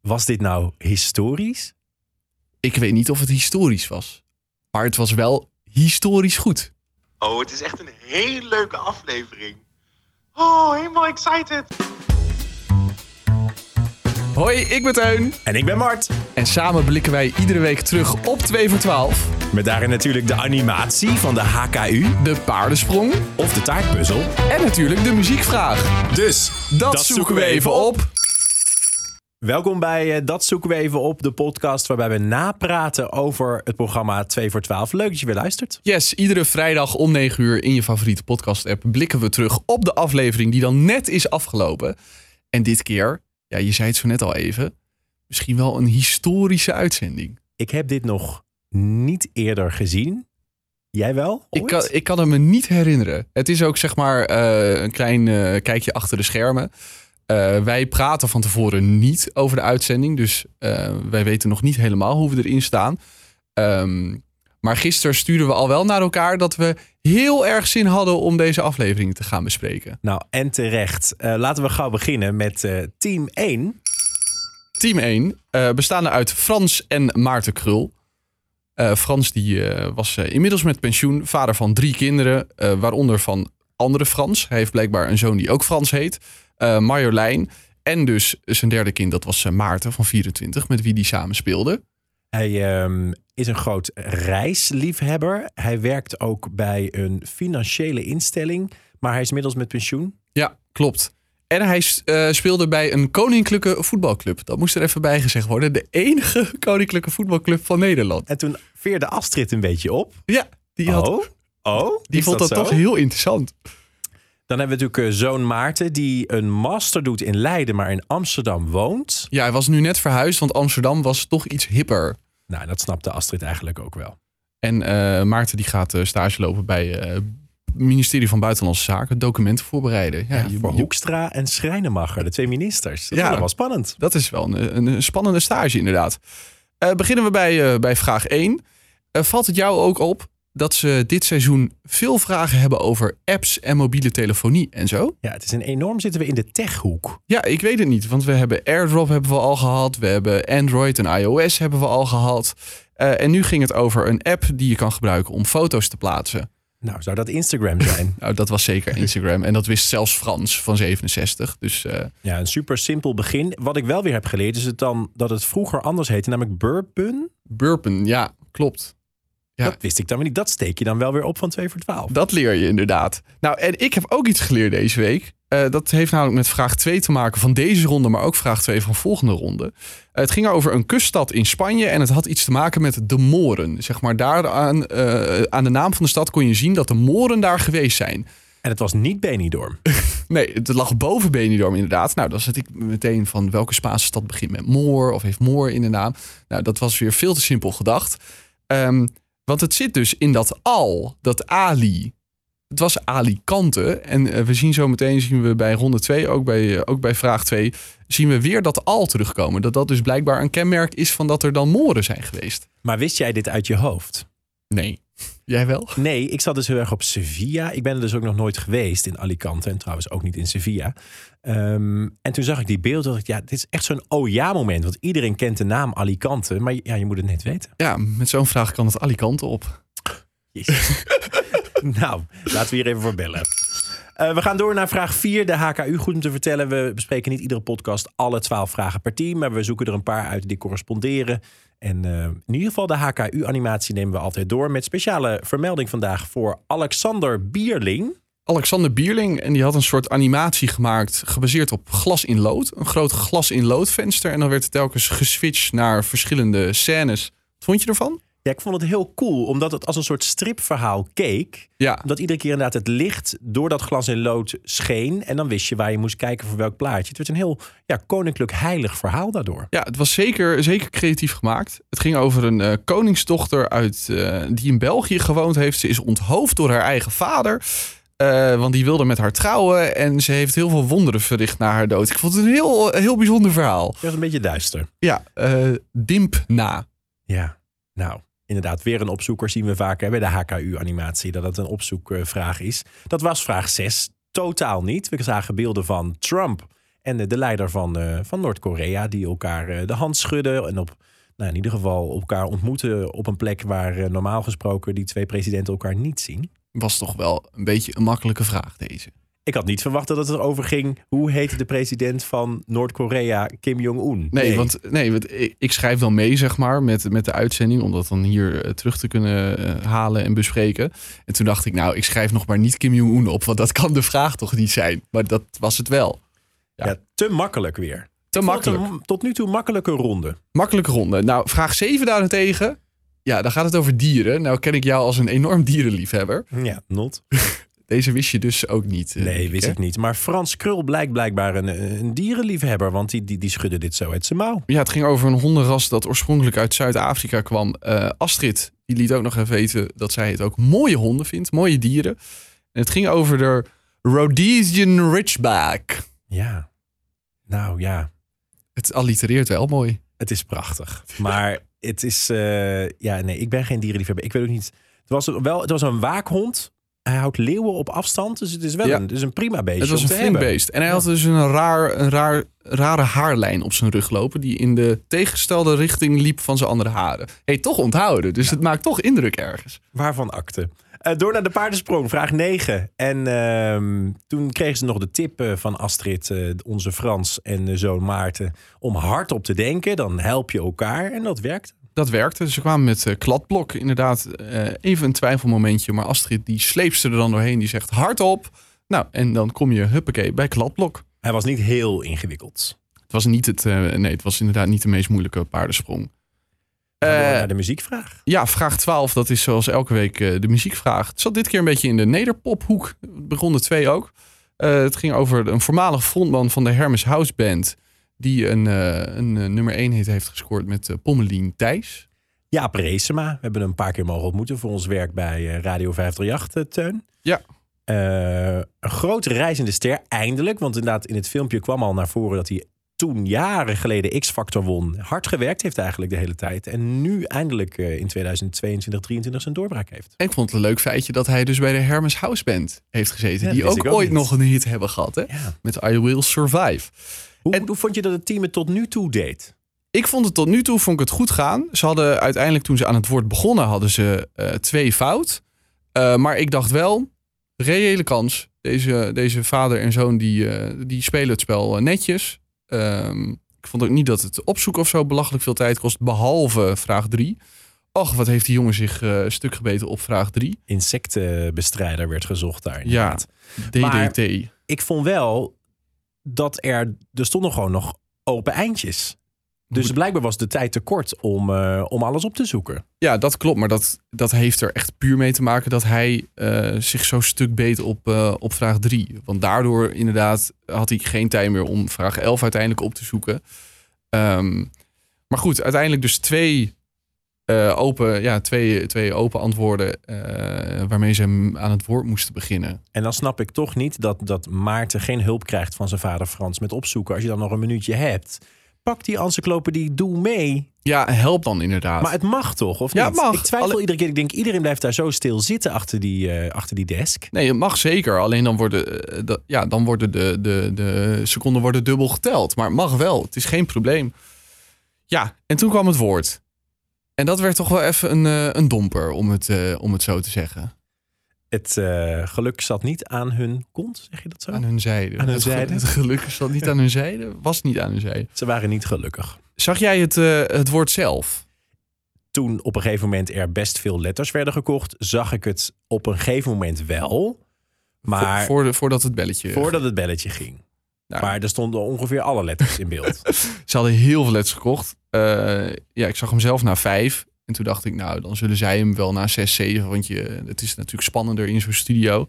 was dit nou historisch? Ik weet niet of het historisch was. Maar het was wel historisch goed. Oh, het is echt een hele leuke aflevering. Oh, helemaal excited. Hoi, ik ben Teun. En ik ben Mart. En samen blikken wij iedere week terug op 2 voor 12. Met daarin natuurlijk de animatie van de HKU De paardensprong. of de taartpuzzel. En natuurlijk de muziekvraag. Dus Dat, zoeken we even op. Welkom bij eh, Dat zoeken we even op, de podcast waarbij we napraten over het programma 2 voor 12. Leuk dat je weer luistert. Yes, iedere vrijdag om 9 uur in je favoriete podcast-app blikken we terug op de aflevering die dan net is afgelopen. En dit keer, ja, je zei het zo net al even, misschien wel een historische uitzending. Ik heb dit nog niet eerder gezien. Jij wel? Ik Ooit? kan, ik kan het me niet herinneren. Het is ook zeg maar eh, een klein eh, kijkje achter de schermen. Eh, wij praten van tevoren niet over de uitzending. Dus eh, wij weten nog niet helemaal hoe we erin staan. Ehm, maar gisteren stuurden we al wel naar elkaar dat we heel erg zin hadden om deze aflevering te gaan bespreken. Nou, en terecht. Eh, laten we gauw beginnen met eh, team 1. Team 1 eh, bestaande uit Frans en Maarten Krul. Eh, Frans die, eh, was eh, inmiddels met pensioen, vader van drie kinderen, eh, waaronder van andere Frans. Hij heeft blijkbaar een zoon die ook Frans heet, eh, Marjolein. En dus zijn derde kind, dat was eh, Maarten van 24, met wie die samen speelde. Hij ehm, is een groot reisliefhebber. Hij werkt ook bij een financiële instelling, maar hij is inmiddels met pensioen. Ja, klopt. En hij s- eh, speelde bij een koninklijke voetbalclub. Dat moest er even bij gezegd worden. De enige koninklijke voetbalclub van Nederland. En toen veerde Astrid een beetje op. Ja, die, had, oh? Oh? die Is vond dat, zo? toch heel interessant. Dan hebben we natuurlijk eh, zoon Maarten, die een master doet in Leiden, maar in Amsterdam woont. Ja, hij was nu net verhuisd, want Amsterdam was toch iets hipper. Nou, dat snapte Astrid eigenlijk ook wel. En eh, Maarten die gaat eh, stage lopen bij eh, het ministerie van Buitenlandse Zaken. Documenten voorbereiden. Ja, je- Voor je- Hoekstra en Schrijnemacher, de twee ministers. Dat Ja. ja. was spannend. dat is wel een, een- een spannende stage inderdaad. Eh, beginnen we bij, eh, bij vraag 1. Eh, valt het jou ook op dat ze dit seizoen veel vragen hebben over apps en mobiele telefonie en zo? Ja, het is een enorm zitten we in de techhoek. Ja, ik weet het niet. Want we hebben AirDrop hebben we al gehad. We hebben Android en iOS hebben we al gehad. Eh, en nu ging het over een app die je kan gebruiken om foto's te plaatsen. Nou, zou dat Instagram zijn? Nou, dat was zeker Instagram. En dat wist zelfs Frans van 67. Dus eh, ja, een super simpel begin. Wat ik wel weer heb geleerd is het dan dat het vroeger anders heette, namelijk Bourbon. burpen, ja, klopt. Ja. Dat wist ik dan weer niet. Dat steek je dan wel weer op van 2 voor 12. Dat leer je inderdaad. Nou, en ik heb ook iets geleerd deze week. Eh, dat heeft namelijk met vraag 2 te maken van deze ronde, maar ook vraag 2 van volgende ronde. Eh, het ging over een kuststad in Spanje en het had iets te maken met de Moren. Zeg maar, daaraan, eh, aan de naam van de stad kon je zien dat de Moren daar geweest zijn. En het was niet Benidorm. Nee, het lag boven Benidorm inderdaad. Nou, dan zat ik meteen van welke Spaanse stad begint met Moor of heeft Moor in de naam. Nou, dat was weer veel te simpel gedacht. Ehm, want het zit dus in dat al, dat Ali. Het was Alicante. En eh, we zien zo meteen, zien we bij ronde 2, ook bij, eh, ook bij vraag 2, zien we weer dat al terugkomen. Dat dat dus blijkbaar een kenmerk is van dat er dan moren zijn geweest. Maar wist jij dit uit je hoofd? Nee. Jij wel? Nee, ik zat dus heel erg op Sevilla. Ik ben er dus ook nog nooit geweest in Alicante en trouwens ook niet in Sevilla. Ehm, en toen zag ik die beelden, dacht ik, ja, dit is echt zo'n oh ja moment. Want iedereen kent de naam Alicante, maar ja, je moet het net weten. Ja, met zo'n vraag kan het Alicante op. Jezus. nou, laten we hier even voor bellen. Eh, we gaan door naar vraag 4, de HKU. Goed om te vertellen, we bespreken niet iedere podcast alle 12 vragen per team. Maar we zoeken er een paar uit die corresponderen. En eh, in ieder geval de HKU-animatie nemen we altijd door. Met speciale vermelding vandaag voor Alexander Bierling. Alexander Bierling en die had een soort animatie gemaakt gebaseerd op glas in lood. Een groot glas in loodvenster. En dan werd het telkens geswitcht naar verschillende scènes. Wat vond je ervan? Ja, ik vond het heel cool, omdat het als een soort stripverhaal keek. Ja, Omdat iedere keer inderdaad het licht door dat glas in lood scheen. En dan wist je waar je moest kijken voor welk plaatje. Het werd een heel ja, koninklijk heilig verhaal daardoor. ja het was zeker, zeker creatief gemaakt. Het ging over een eh, koningsdochter uit, eh, die in België gewoond heeft. Ze is onthoofd door haar eigen vader. eh, want die wilde met haar trouwen. En ze heeft heel veel wonderen verricht na haar dood. Ik vond het een heel, eh, heel bijzonder verhaal. Het was een beetje duister. Ja, eh, Dimpna. Ja, nou, inderdaad, weer een opzoeker zien we vaak hè, bij de HKU-animatie. Dat het een opzoekvraag is. Dat was vraag 6. Totaal niet. We zagen beelden van Trump En eh, de leider van, eh, van Noord-Korea, die elkaar eh, de hand schudden. En op, nou, in ieder geval elkaar ontmoeten op een plek waar eh, normaal gesproken die twee presidenten elkaar niet zien. Was toch wel een beetje een makkelijke vraag deze. Ik had niet verwacht dat het erover ging. Hoe heette de president van Noord-Korea Kim Jong-un? Nee, want, nee, want ik, ik schrijf dan mee, zeg maar, met, met de uitzending. Om dat dan hier eh, terug te kunnen eh, halen en bespreken. En toen dacht ik, nou, ik schrijf nog maar niet Kim Jong-un op. Want dat kan de vraag toch niet zijn. Maar dat was het wel. ja. te makkelijk weer. Te Ik vond het makkelijk. een tot nu toe makkelijke ronde. Makkelijke ronde. Nou, vraag 7 daarentegen. Ja, dan gaat het over dieren. Nou ken ik jou als een enorm dierenliefhebber. Ja, not. Deze wist je dus ook niet. eh, Nee, denk wist hè? ik niet. Maar Frans Krul blijkt blijkbaar een, eh, een dierenliefhebber. Want die, die, die schudde dit zo uit zijn mouw. Ja, het ging over een hondenras dat oorspronkelijk uit Zuid-Afrika kwam. Eh, Astrid, die liet ook nog even weten dat zij het ook mooie honden vindt, mooie dieren. En het ging over de Rhodesian Ridgeback. Ja. Nou ja, Het allitereert wel mooi. het is prachtig. Maar het is... eh, ja, nee, ik ben geen dierenliefhebber. Ik weet ook niet... Het was, wel, het was een waakhond. Hij houdt leeuwen op afstand. Dus het is wel Ja. een, het is een prima beestje Het was om een te flink hebben. beest. En hij had dus een, raar, een raar, rare haarlijn op zijn rug lopen... die in de tegengestelde richting liep van zijn andere haren. hey, toch onthouden. Dus het maakt toch indruk ergens. Waarvan akte. Eh, door naar de paardensprong, vraag 9. En ehm, toen kregen ze nog de tip eh, van Astrid, eh, onze Frans en eh, zoon Maarten... om hardop te denken, dan help je elkaar. En dat werkt. Dat werkte. Ze kwamen met eh, kladblok. Inderdaad, eh, even een twijfelmomentje. Maar Astrid die sleept ze er dan doorheen. Die zegt hardop. Nou, en dan kom je, huppakee, bij kladblok. Hij was niet heel ingewikkeld. Het was, niet het, eh, nee, het was inderdaad niet de meest moeilijke paardensprong. Dan gaan we Eh, naar de muziekvraag. Ja, vraag 12, dat is zoals elke week eh, de muziekvraag. Het zat dit keer een beetje in de nederpophoek, begonnen twee ook. Eh, het ging over een voormalig frontman van de Hermes House Band... die een, eh, een eh, nummer 1 hit heeft gescoord met eh, Pommelien Thijs. Jaap Reesema. We hebben hem een paar keer mogen ontmoeten voor ons werk bij eh, Radio 538, eh, Teun. Ja. Eh, een grote reizende ster, eindelijk. Want inderdaad, in het filmpje kwam al naar voren dat hij toen jaren geleden X-Factor won. Hard gewerkt heeft eigenlijk de hele tijd. En nu eindelijk eh, in 2022, 23 zijn doorbraak heeft. En ik vond het een leuk feitje dat hij dus bij de Hermes House Band heeft gezeten... Ja, die dat wist ook, ik ook ooit niet. nog een hit hebben gehad, hè? Ja. Met I Will Survive. Hoe, En- hoe vond je dat het team het tot nu toe deed? Ik vond het tot nu toe vond ik het goed gaan. Ze hadden uiteindelijk toen ze aan het woord begonnen, hadden ze eh, twee fout. Eh, maar ik dacht wel, reële kans. Deze, deze vader en zoon die, eh, die spelen het spel eh, netjes. Ehm, ik vond ook niet dat het opzoeken of zo belachelijk veel tijd kost. Behalve vraag drie. Och, wat heeft die jongen zich eh, stuk gebeten op vraag drie. Insectenbestrijder werd gezocht daar. Ja, inderdaad. DDT. ik vond wel dat er, er stonden gewoon nog open eindjes. Dus Goed. blijkbaar was de tijd te kort om, eh, om alles op te zoeken. Ja, dat klopt. Maar dat, dat heeft er echt puur mee te maken dat hij eh, zich zo stuk beet op, eh, op vraag 3. Want daardoor inderdaad had hij geen tijd meer om vraag 11 uiteindelijk op te zoeken. Ehm, maar goed, uiteindelijk dus twee, eh, open, ja, twee, twee open antwoorden eh, waarmee ze hem aan het woord moesten beginnen. En dan snap ik toch niet dat, dat Maarten geen hulp krijgt van zijn vader Frans met opzoeken. Als je dan nog een minuutje hebt, pak die encyclopedie, doe mee. Ja, help dan inderdaad. Maar het mag toch, of niet? Ja, het mag. Ik twijfel Alle- iedere keer. Ik denk, iedereen blijft daar zo stil zitten achter die, eh, achter die desk. Nee, het mag zeker. Alleen dan worden, eh, dat- ja, dan worden de, de, de seconden worden dubbel geteld. Maar het mag wel. Het is geen probleem. Ja, en toen kwam het woord. En dat werd toch wel even een, eh, een domper, om het, eh, om het zo te zeggen. Het eh, geluk zat niet aan hun kont, zeg je dat zo? Aan hun zijde. Aan hun het, ge- zijde. Het geluk zat niet aan hun zijde. Was niet aan hun zijde. Ze waren niet gelukkig. Zag jij het, eh, het woord zelf? toen op een gegeven moment er best veel letters werden gekocht, zag ik het op een gegeven moment wel. Maar Vo- voor de, voordat het belletje... voordat het belletje ging. Nou. Maar er stonden ongeveer alle letters in beeld. Ze hadden heel veel leds gekocht. Eh, ja, ik zag hem zelf na vijf. En toen dacht ik, nou, dan zullen zij hem wel na zes, zeven. Want je, het is natuurlijk spannender in zo'n studio.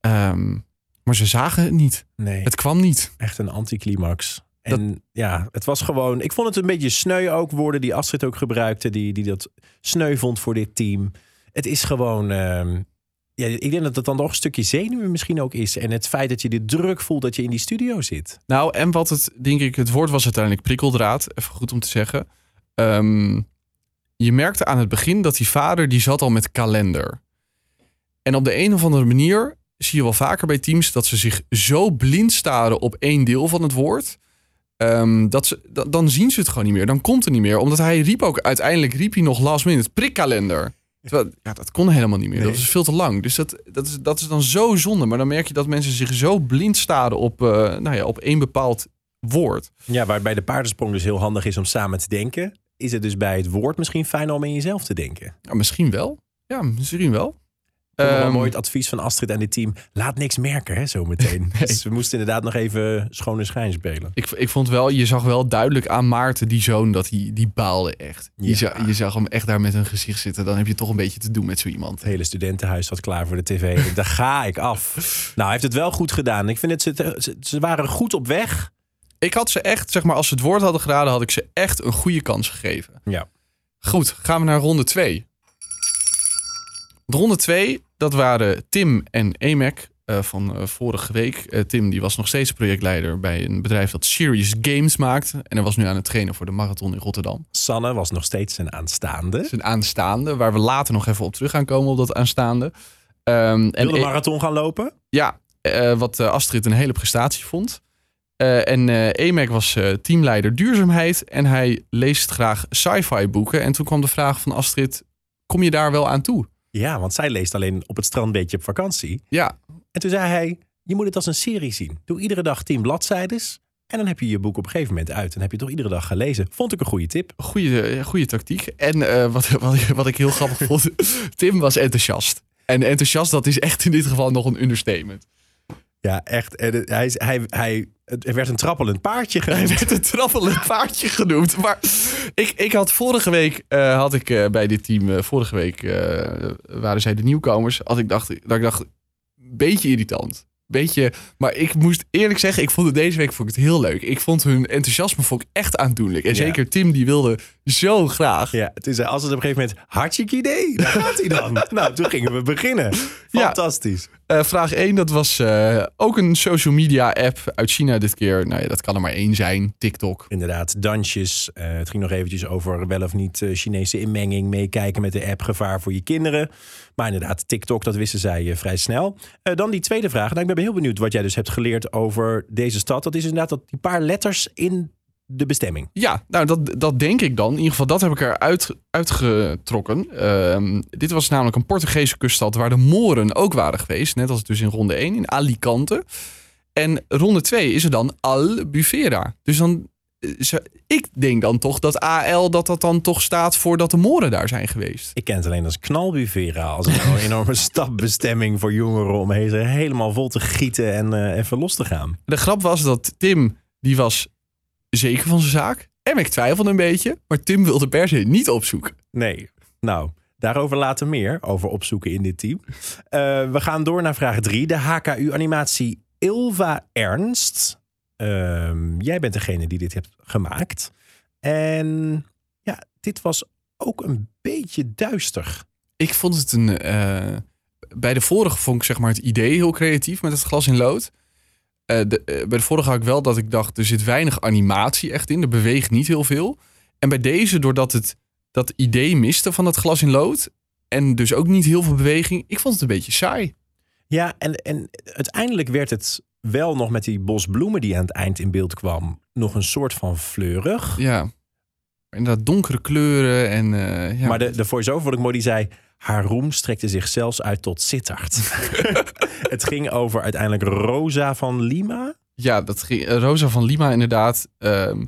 Ehm, maar ze zagen het niet. Nee, Het kwam niet. echt een anticlimax. En ja, het was gewoon... Ik vond het een beetje sneu ook, woorden die Astrid ook gebruikte... die, die dat sneu vond voor dit team. Het is gewoon... ehm, ja, ik denk dat het dan nog een stukje zenuwen misschien ook is. En het feit dat je de druk voelt dat je in die studio zit. Nou, en wat het, denk ik, het woord was uiteindelijk prikkeldraad. Even goed om te zeggen. Ehm, je merkte aan het begin dat die vader, die zat al met kalender. En op de een of andere manier zie je wel vaker bij teams dat ze zich zo blind staren op één deel van het woord. ehm, dat ze, da- dan zien ze het gewoon niet meer. Dan komt het niet meer. Omdat hij riep ook uiteindelijk riep hij nog last minute prikkalender. Terwijl, ja, dat kon helemaal niet meer. Nee. Dat is veel te lang. Dus dat, dat, is, dat is dan zo zonde. Maar dan merk je dat mensen zich zo blind staren op, eh, nou ja, op één bepaald woord. Ja, waar het bij de paardensprong dus heel handig is om samen te denken, is het dus bij het woord misschien fijn om in jezelf te denken. Ja, misschien wel. Ja, misschien wel. Ik vond wel Ehm, mooi het advies van Astrid en dit team. Laat niks merken, hè, zometeen. Dus we moesten inderdaad nog even schone schijn spelen. Ik, ik vond wel, je zag wel duidelijk aan Maarten, die zoon, dat hij die baalde echt. Je, Ja. zag, je zag hem echt daar met een gezicht zitten. Dan heb je toch een beetje te doen met zo iemand. Het hele studentenhuis zat klaar voor de tv. Daar ga ik af. Nou, hij heeft het wel goed gedaan. Ik vind het, ze, ze- ze waren goed op weg. Ik had ze echt, zeg maar, als ze het woord hadden geraden, had ik ze echt een goede kans gegeven. Ja. Goed, gaan we naar ronde 2. Ronde 2, dat waren Tim en Emek eh, van eh, vorige week. Eh, Tim die was nog steeds projectleider bij een bedrijf dat Serious Games maakt. En hij was nu aan het trainen voor de marathon in Rotterdam. Sanne was nog steeds een aanstaande. zijn aanstaande, waar we later nog even op terug gaan komen op dat aanstaande. Ehm, en Wil de e- marathon gaan lopen? ja, eh, wat eh, Astrid een hele prestatie vond. Eh, en eh Emek was eh, teamleider duurzaamheid en hij leest graag sci-fi boeken. En toen kwam de vraag van Astrid, kom je daar wel aan toe? Ja, want zij leest alleen op het strandbeetje op vakantie. Ja, En toen zei hij, je moet het als een serie zien. Doe iedere dag tien bladzijdes. En dan heb je je boek op een gegeven moment uit. En heb je het toch iedere dag gelezen. Vond ik een goede tip. goede, goede tactiek. En eh, wat, wat, wat ik heel grappig vond, Tim was enthousiast. En enthousiast, dat is echt in dit geval nog een understatement. Ja, echt. En het- hij, is- hij, hij, het werd een trappelend paardje. Hij genoemd. werd een trappelend paardje genoemd. Maar ik, ik had vorige week, eh, had ik eh, bij dit team, eh, vorige week eh, waren zij de nieuwkomers. Had ik dacht, dat ik dacht, beetje irritant. Beetje, maar ik moest eerlijk zeggen, ik vond het deze week vond ik het heel leuk. Ik vond hun enthousiasme vond ik echt aandoenlijk. En Ja. zeker Tim, die wilde zo graag. Ja, toen zei Astrid op een gegeven moment, hartstikke idee. Daar gaat hij dan. nou, toen gingen we beginnen. Fantastisch. Eh, vraag 1, dat was eh, ook een social media app uit China dit keer. Nou ja, dat kan er maar één zijn, TikTok. Inderdaad, dansjes. Eh, het ging nog eventjes over wel of niet eh, Chinese inmenging. Meekijken met de app, gevaar voor je kinderen. Maar inderdaad, TikTok, dat wisten zij eh, vrij snel. Eh, dan die tweede vraag. Nou, ik ben heel benieuwd wat jij dus hebt geleerd over deze stad. Dat is inderdaad dat die paar letters in de bestemming. Ja, nou dat, dat denk ik dan. In ieder geval, dat heb ik eruit uitgetrokken. Ehm, dit was namelijk een Portugese kuststad waar de Moren ook waren geweest. Net als dus in ronde 1 in Alicante. En ronde 2 is er dan Albufeira. Dus dan, eh, ze- ik denk dan toch dat AL dat dat dan toch staat voor dat de Moren daar zijn geweest. Ik ken het alleen als knalbuvera. Als een enorme stadbestemming voor jongeren om he- ze helemaal vol te gieten en eh, even los te gaan. De grap was dat Tim, die was zeker van zijn zaak. En ik twijfelde een beetje, maar Tim wilde per se niet opzoeken. Nee. Nou, daarover later meer. Over opzoeken in dit team. Eh, we gaan door naar vraag 3. De HKU-animatie Ilva Ernst. Ehm, jij bent degene die dit hebt gemaakt. En ja, dit was ook een beetje duister. Ik vond het een. eh, bij de vorige vond ik zeg maar het idee heel creatief met het glas in lood. Eh, de, eh, bij de vorige had ik wel dat ik dacht, er zit weinig animatie echt in. Er beweegt niet heel veel. En bij deze, doordat het dat idee miste van dat glas in lood. En dus ook niet heel veel beweging. Ik vond het een beetje saai. Ja, en, en uiteindelijk werd het wel nog met die bos bloemen die aan het eind in beeld kwam... nog een soort van fleurig. Ja. Inderdaad, donkere kleuren. En, eh, ja. Maar de, de voice-over vond ik mooi, die zei... Haar roem strekte zich zelfs uit tot Sittard. het ging over uiteindelijk Rosa van Lima. Ja, dat ging, eh, Rosa van Lima inderdaad. ehm,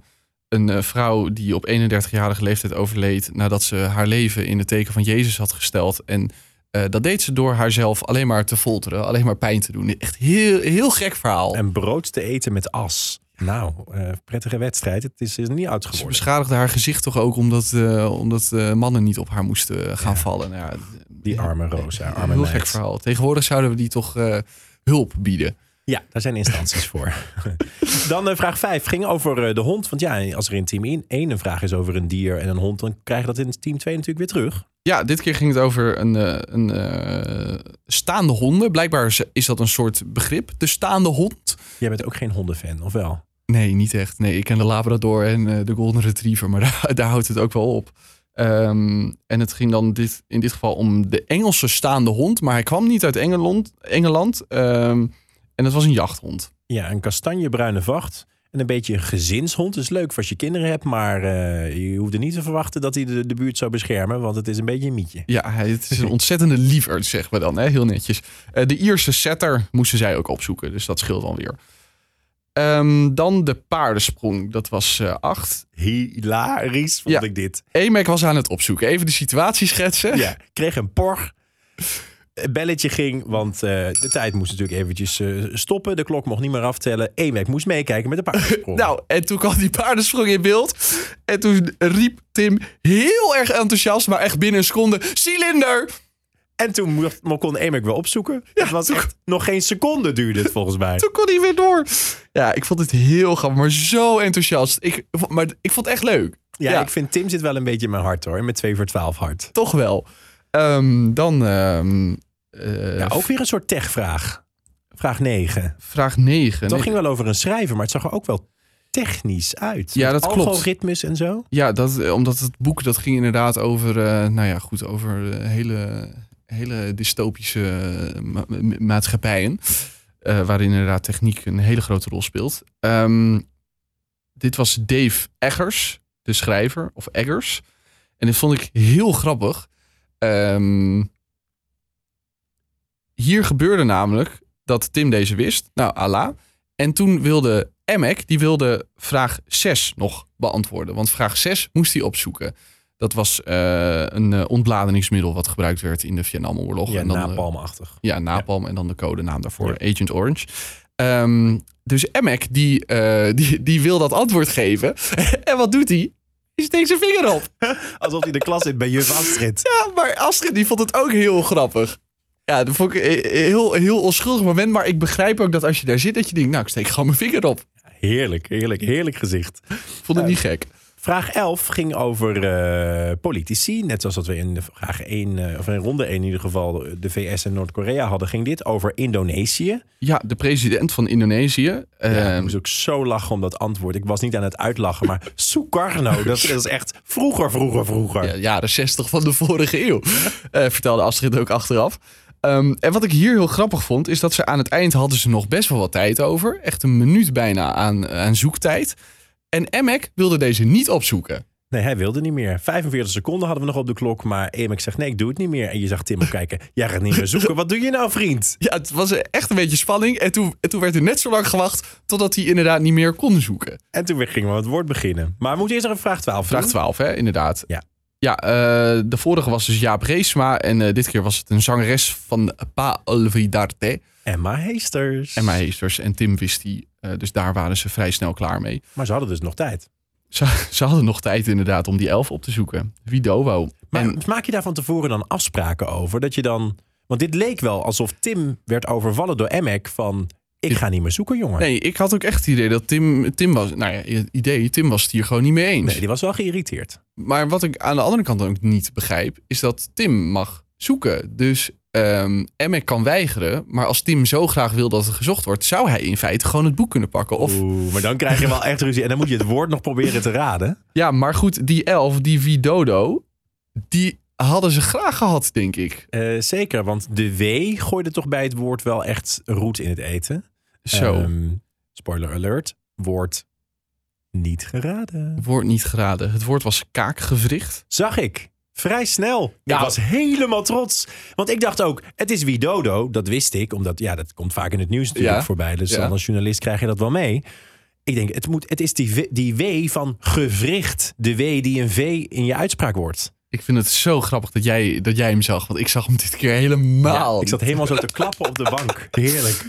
een eh, vrouw die op 31-jarige leeftijd overleed nadat ze haar leven in het teken van Jezus had gesteld. En eh, dat deed ze door haarzelf alleen maar te folteren, alleen maar pijn te doen. Echt heel, heel gek verhaal. En brood te eten met as. Nou, eh, prettige wedstrijd. Het is, is niet oud ze geworden. beschadigde haar gezicht toch ook omdat, eh, omdat eh, mannen niet op haar moesten eh, gaan vallen. Nou, ja, Die arme Rosa, arme heel meid. gek verhaal. Tegenwoordig zouden we die toch eh, hulp bieden. Ja, daar zijn instanties voor. Dan eh, vraag 5 ging over eh, de hond. Want ja, als er in team 1 een vraag is over een dier en een hond... dan krijg je dat in team 2 natuurlijk weer terug. Ja, dit keer ging het over een, eh, een eh, staande honden. Blijkbaar is- is dat een soort begrip. De staande hond. Jij bent ook geen hondenfan, of wel? Nee, niet echt. Nee, ik ken de Labrador en eh, de Golden Retriever, maar daar, daar houdt het ook wel op. Eh, Ehm, en het ging dan dit, in dit geval om de Engelse staande hond. Maar hij kwam niet uit Engeland. Engeland ehm, en het was een jachthond. Ja, een kastanjebruine vacht. En een beetje een gezinshond. is leuk voor als je kinderen hebt, maar eh, je hoeft er niet te verwachten dat hij de, de buurt zou beschermen, want het is een beetje een mietje. Ja, hij- het is een ontzettende lieverd, zeggen we dan. Hè? Heel netjes. Eh, de Ierse setter moesten zij ook opzoeken. Dus dat scheelt dan weer. Ehm, dan de paardensprong. Dat was eh, acht. Hilarisch vond Ja. ik dit. Emek was aan het opzoeken. Even de situatie schetsen. Ja, kreeg een por. Het belletje ging, want eh, de tijd moest natuurlijk eventjes eh, stoppen. De klok mocht niet meer aftellen. Emek moest meekijken met de paardensprong. Nou, en toen kwam die paardensprong in beeld. En toen riep Tim heel erg enthousiast, maar echt binnen een seconde: cilinder! En toen mocht, kon Emek wel opzoeken. het was echt, nog geen seconde duurde het volgens mij. Toen kon hij weer door. Ja, ik vond het heel grappig, maar zo enthousiast. Ik, maar ik vond het echt leuk. Ja, ik vind Tim zit wel een beetje in mijn hart hoor. Met 2 voor 12 hart. toch wel. Ehm, dan ehm, eh, Ja, ook weer een soort techvraag. Vraag 9. vraag 9. Dat ging wel over een schrijver, maar het zag er ook wel technisch uit. Ja, Met dat klopt. Algoritmes en zo. Ja, dat, eh, omdat het boek dat ging inderdaad over, eh, nou ja, goed, over eh, hele, hele dystopische eh, ma- ma- maatschappijen. eh, waarin inderdaad techniek een hele grote rol speelt. Ehm, dit was Dave Eggers, de schrijver, of Eggers. En dit vond ik heel grappig. Ehm, hier gebeurde namelijk dat Tim deze wist. Nou, ala. En toen wilde Emek, die wilde vraag 6 nog beantwoorden. Want vraag 6 moest hij opzoeken. Dat was eh, een eh, ontbladeringsmiddel wat gebruikt werd in de Vietnamoorlog. Ja, en dan, eh, napalmachtig. ja, napalm en dan de codenaam daarvoor, Agent Orange. Ehm, dus Emek, die, eh, die, die wil dat antwoord geven. en wat doet hij? Hij steekt zijn vinger op. Alsof hij de klas zit bij juf Astrid. Ja, maar Astrid die vond het ook heel grappig. Ja, dat vond ik een heel, heel onschuldig moment. Maar ik begrijp ook dat als je daar zit, dat je denkt... nou, ik steek gewoon mijn vinger op. Heerlijk, heerlijk, heerlijk gezicht. Ik vond het niet gek. Vraag 11 ging over eh, politici. Net zoals dat we in de vraag 1, eh, of in ronde 1 in ieder geval, de VS en Noord-Korea hadden, ging dit over Indonesië. Ja, de president van Indonesië. Ja, ik ehm, moest ook zo lachen om dat antwoord. Ik was niet aan het uitlachen, maar Sukarno, dat is echt vroeger, vroeger, vroeger. ja, Eh, jaren 60 van de vorige eeuw. Eh, vertelde Astrid ook achteraf. Ehm, en wat ik hier heel grappig vond, is dat ze aan het eind hadden ze nog best wel wat tijd over. Echt een minuut bijna aan, aan zoektijd. En Emek wilde deze niet opzoeken. Nee, hij wilde niet meer. 45 seconden hadden we nog op de klok, maar Emek zegt nee, ik doe het niet meer. En je zag Tim ook kijken, jij gaat niet meer zoeken. Wat doe je nou, vriend? Ja, het was echt een beetje spanning. En toen, en toen werd er net zo lang gewacht totdat hij inderdaad niet meer kon zoeken. En toen weer gingen we het woord beginnen. Maar we moeten eerst nog even vraag 12 Vraag doen. 12, hè, inderdaad. Hm? Ja. Ja, eh, de vorige was dus Jaap Reesma. En eh, dit keer was het een zangeres van Pa Olvidarte. Emma Heesters. Emma Heesters en Tim wist die. eh, dus daar waren ze vrij snel klaar mee. Maar ze hadden dus nog tijd. Ze, ze hadden nog tijd inderdaad om die elf op te zoeken. Widowo. Maar En maak je daar van tevoren dan afspraken over? Dat je dan. Want dit leek wel alsof Tim werd overvallen door Emek van. Ik ga niet meer zoeken, jongen. nee, ik had ook echt het idee dat Tim, Tim was... Nou ja, het idee, Tim was het hier gewoon niet mee eens. Nee, die was wel geïrriteerd. Maar wat ik aan de andere kant ook niet begrijp... is dat Tim mag zoeken. Dus ehm Emmek kan weigeren. Maar als Tim zo graag wil dat het gezocht wordt... zou hij in feite gewoon het boek kunnen pakken. Of Oeh, maar dan krijg je wel echt ruzie. En dan moet je het woord nog proberen te raden. ja, maar goed, die elf, die Widodo... die hadden ze graag gehad, denk ik. Eh, zeker, want de W gooide toch bij het woord wel echt roet in het eten. Zo. Ehm, spoiler alert: woord niet geraden. Woord niet geraden. Het woord was kaakgewricht. Zag ik. Vrij snel. Ja. Ik was helemaal trots. Want ik dacht ook, het is Widodo. Dat wist ik, omdat ja, dat komt vaak in het nieuws natuurlijk Ja. voorbij. Dus Ja. dan als journalist krijg je dat wel mee. Ik denk, het, moet, het is die, w- die W van gewricht. De W die een V in je uitspraak wordt. Ik vind het zo grappig dat jij, dat jij hem zag. Want ik zag hem dit keer helemaal. Ja, ik zat helemaal zo te klappen op de bank. Heerlijk.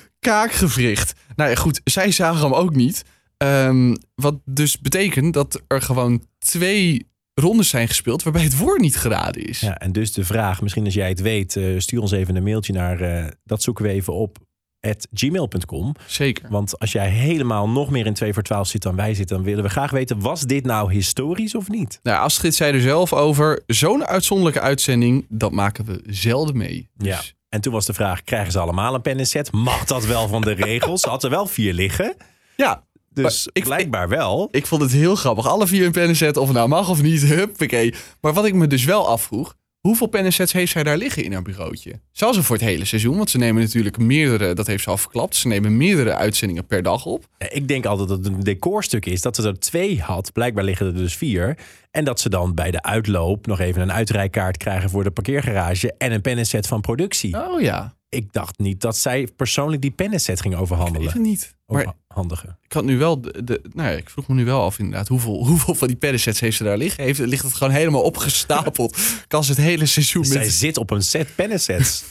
kaakgewricht. Nou ja, goed. Zij zagen hem ook niet. Ehm, wat dus betekent dat er gewoon twee rondes zijn gespeeld... waarbij het woord niet geraden is. Ja, en dus de vraag, misschien als jij het weet, eh, stuur ons even een mailtje naar eh, dat zoeken we even op at gmail.com. Zeker. Want als jij helemaal nog meer in 2 voor 12 zit dan wij zitten, dan willen we graag weten: was dit nou historisch of niet? Nou, Astrid zei er zelf over... zo'n uitzonderlijke uitzending, dat maken we zelden mee. Dus Ja. En toen was de vraag: krijgen ze allemaal een pen en set? Mag dat wel van de regels? Ze had er wel vier liggen. ja, Dus Maar ik- blijkbaar wel. Ik vond het heel grappig. Alle vier een pennenset, of het nou mag of niet. Huppakee. Maar wat ik me dus wel afvroeg. Hoeveel pennensets heeft zij daar liggen in haar bureautje? Zal ze voor het hele seizoen? Want ze nemen natuurlijk meerdere, dat heeft ze al verklapt. Ze nemen meerdere uitzendingen per dag op. Ik denk altijd dat het een decorstuk is. Dat ze er twee had. Blijkbaar liggen er dus vier. En dat ze dan bij de uitloop nog even een uitrijkaart krijgen voor de parkeergarage. En een pennenset van productie. Oh ja, Ik dacht niet dat zij persoonlijk die pennenset ging weet overhandelen. het niet. Maar Overhandigen. ik had nu wel de, de- nou ja, ik vroeg me nu wel af inderdaad hoeveel, hoeveel van die pennensets heeft ze daar liggen? Heeft, ligt het gewoon helemaal opgestapeld? kan ze het hele seizoen Zij met... zit op een set pennensets.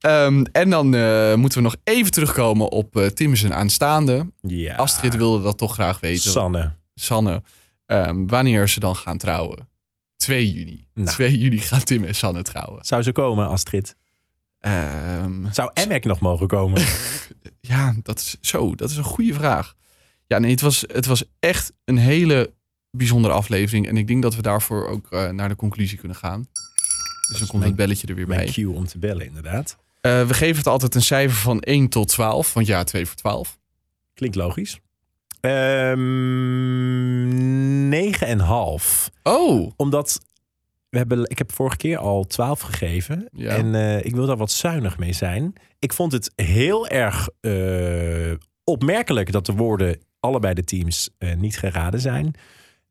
Ehm, en dan eh, moeten we nog even terugkomen op eh Tim zijn aanstaande. ja. Astrid wilde dat toch graag weten. Sanne. Sanne, ehm, wanneer ze dan gaan trouwen? 2 juni. Nou. 2 juni gaan Tim en Sanne trouwen. Zou ze komen, Astrid? Ehm, Zou Emek nog mogen komen? ja, dat is zo. Dat is een goede vraag. Ja, nee, het was, het was echt een hele bijzondere aflevering. En ik denk dat we daarvoor ook eh, naar de conclusie kunnen gaan. Dus dan komt mijn- het belletje er weer bij. Mijn cue om te bellen, inderdaad. Eh, we geven het altijd een cijfer van 1 tot 12. Want ja, 2 voor 12. Klinkt logisch. Ehm, Negen en half. Oh, Omdat we hebben, ik heb vorige keer al 12 gegeven. Ja. En eh, ik wil daar wat zuinig mee zijn. Ik vond het heel erg eh, opmerkelijk dat de woorden allebei de teams eh, niet geraden zijn.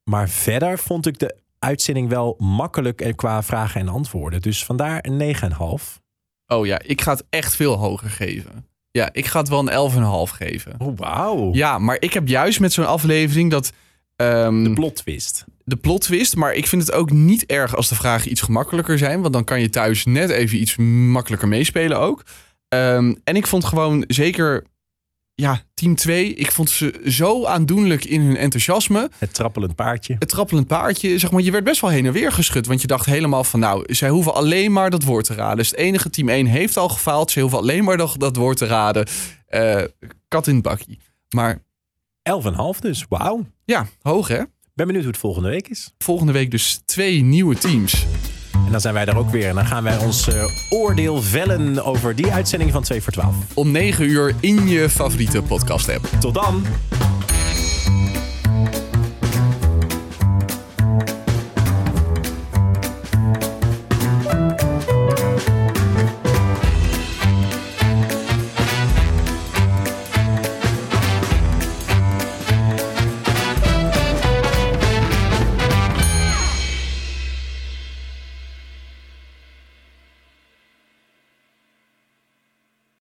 Maar verder vond ik de uitzending wel makkelijk eh, qua vragen en antwoorden. Dus vandaar een 9,5. oh ja, ik ga het echt veel hoger geven. Ja, ik ga het wel een 11,5 geven. Oh, wauw. Ja, maar ik heb juist met zo'n aflevering dat ehm, De de, plot twist. plot twist. Maar ik vind het ook niet erg als de vragen iets gemakkelijker zijn. Want dan kan je thuis net even iets makkelijker meespelen ook. Ehm, en ik vond gewoon zeker, ja, team 2. Ik vond ze zo aandoenlijk in hun enthousiasme. Het trappelend paardje. Het trappelend paardje, zeg maar, je werd best wel heen en weer geschud. Want je dacht helemaal van, nou, zij hoeven alleen maar dat woord te raden. Dus het enige team 1 heeft al gefaald. Ze hoeven alleen maar dat, dat woord te raden. Eh, kat in het bakkie. Maar 11,5 dus. Wauw. ja, hoog hè? Ben benieuwd hoe het volgende week is. volgende week dus twee nieuwe teams. En dan zijn wij er ook weer. En dan gaan wij ons eh, oordeel vellen over die uitzending van 2 voor 12. Om 9 uur in je favoriete podcast app. Tot dan!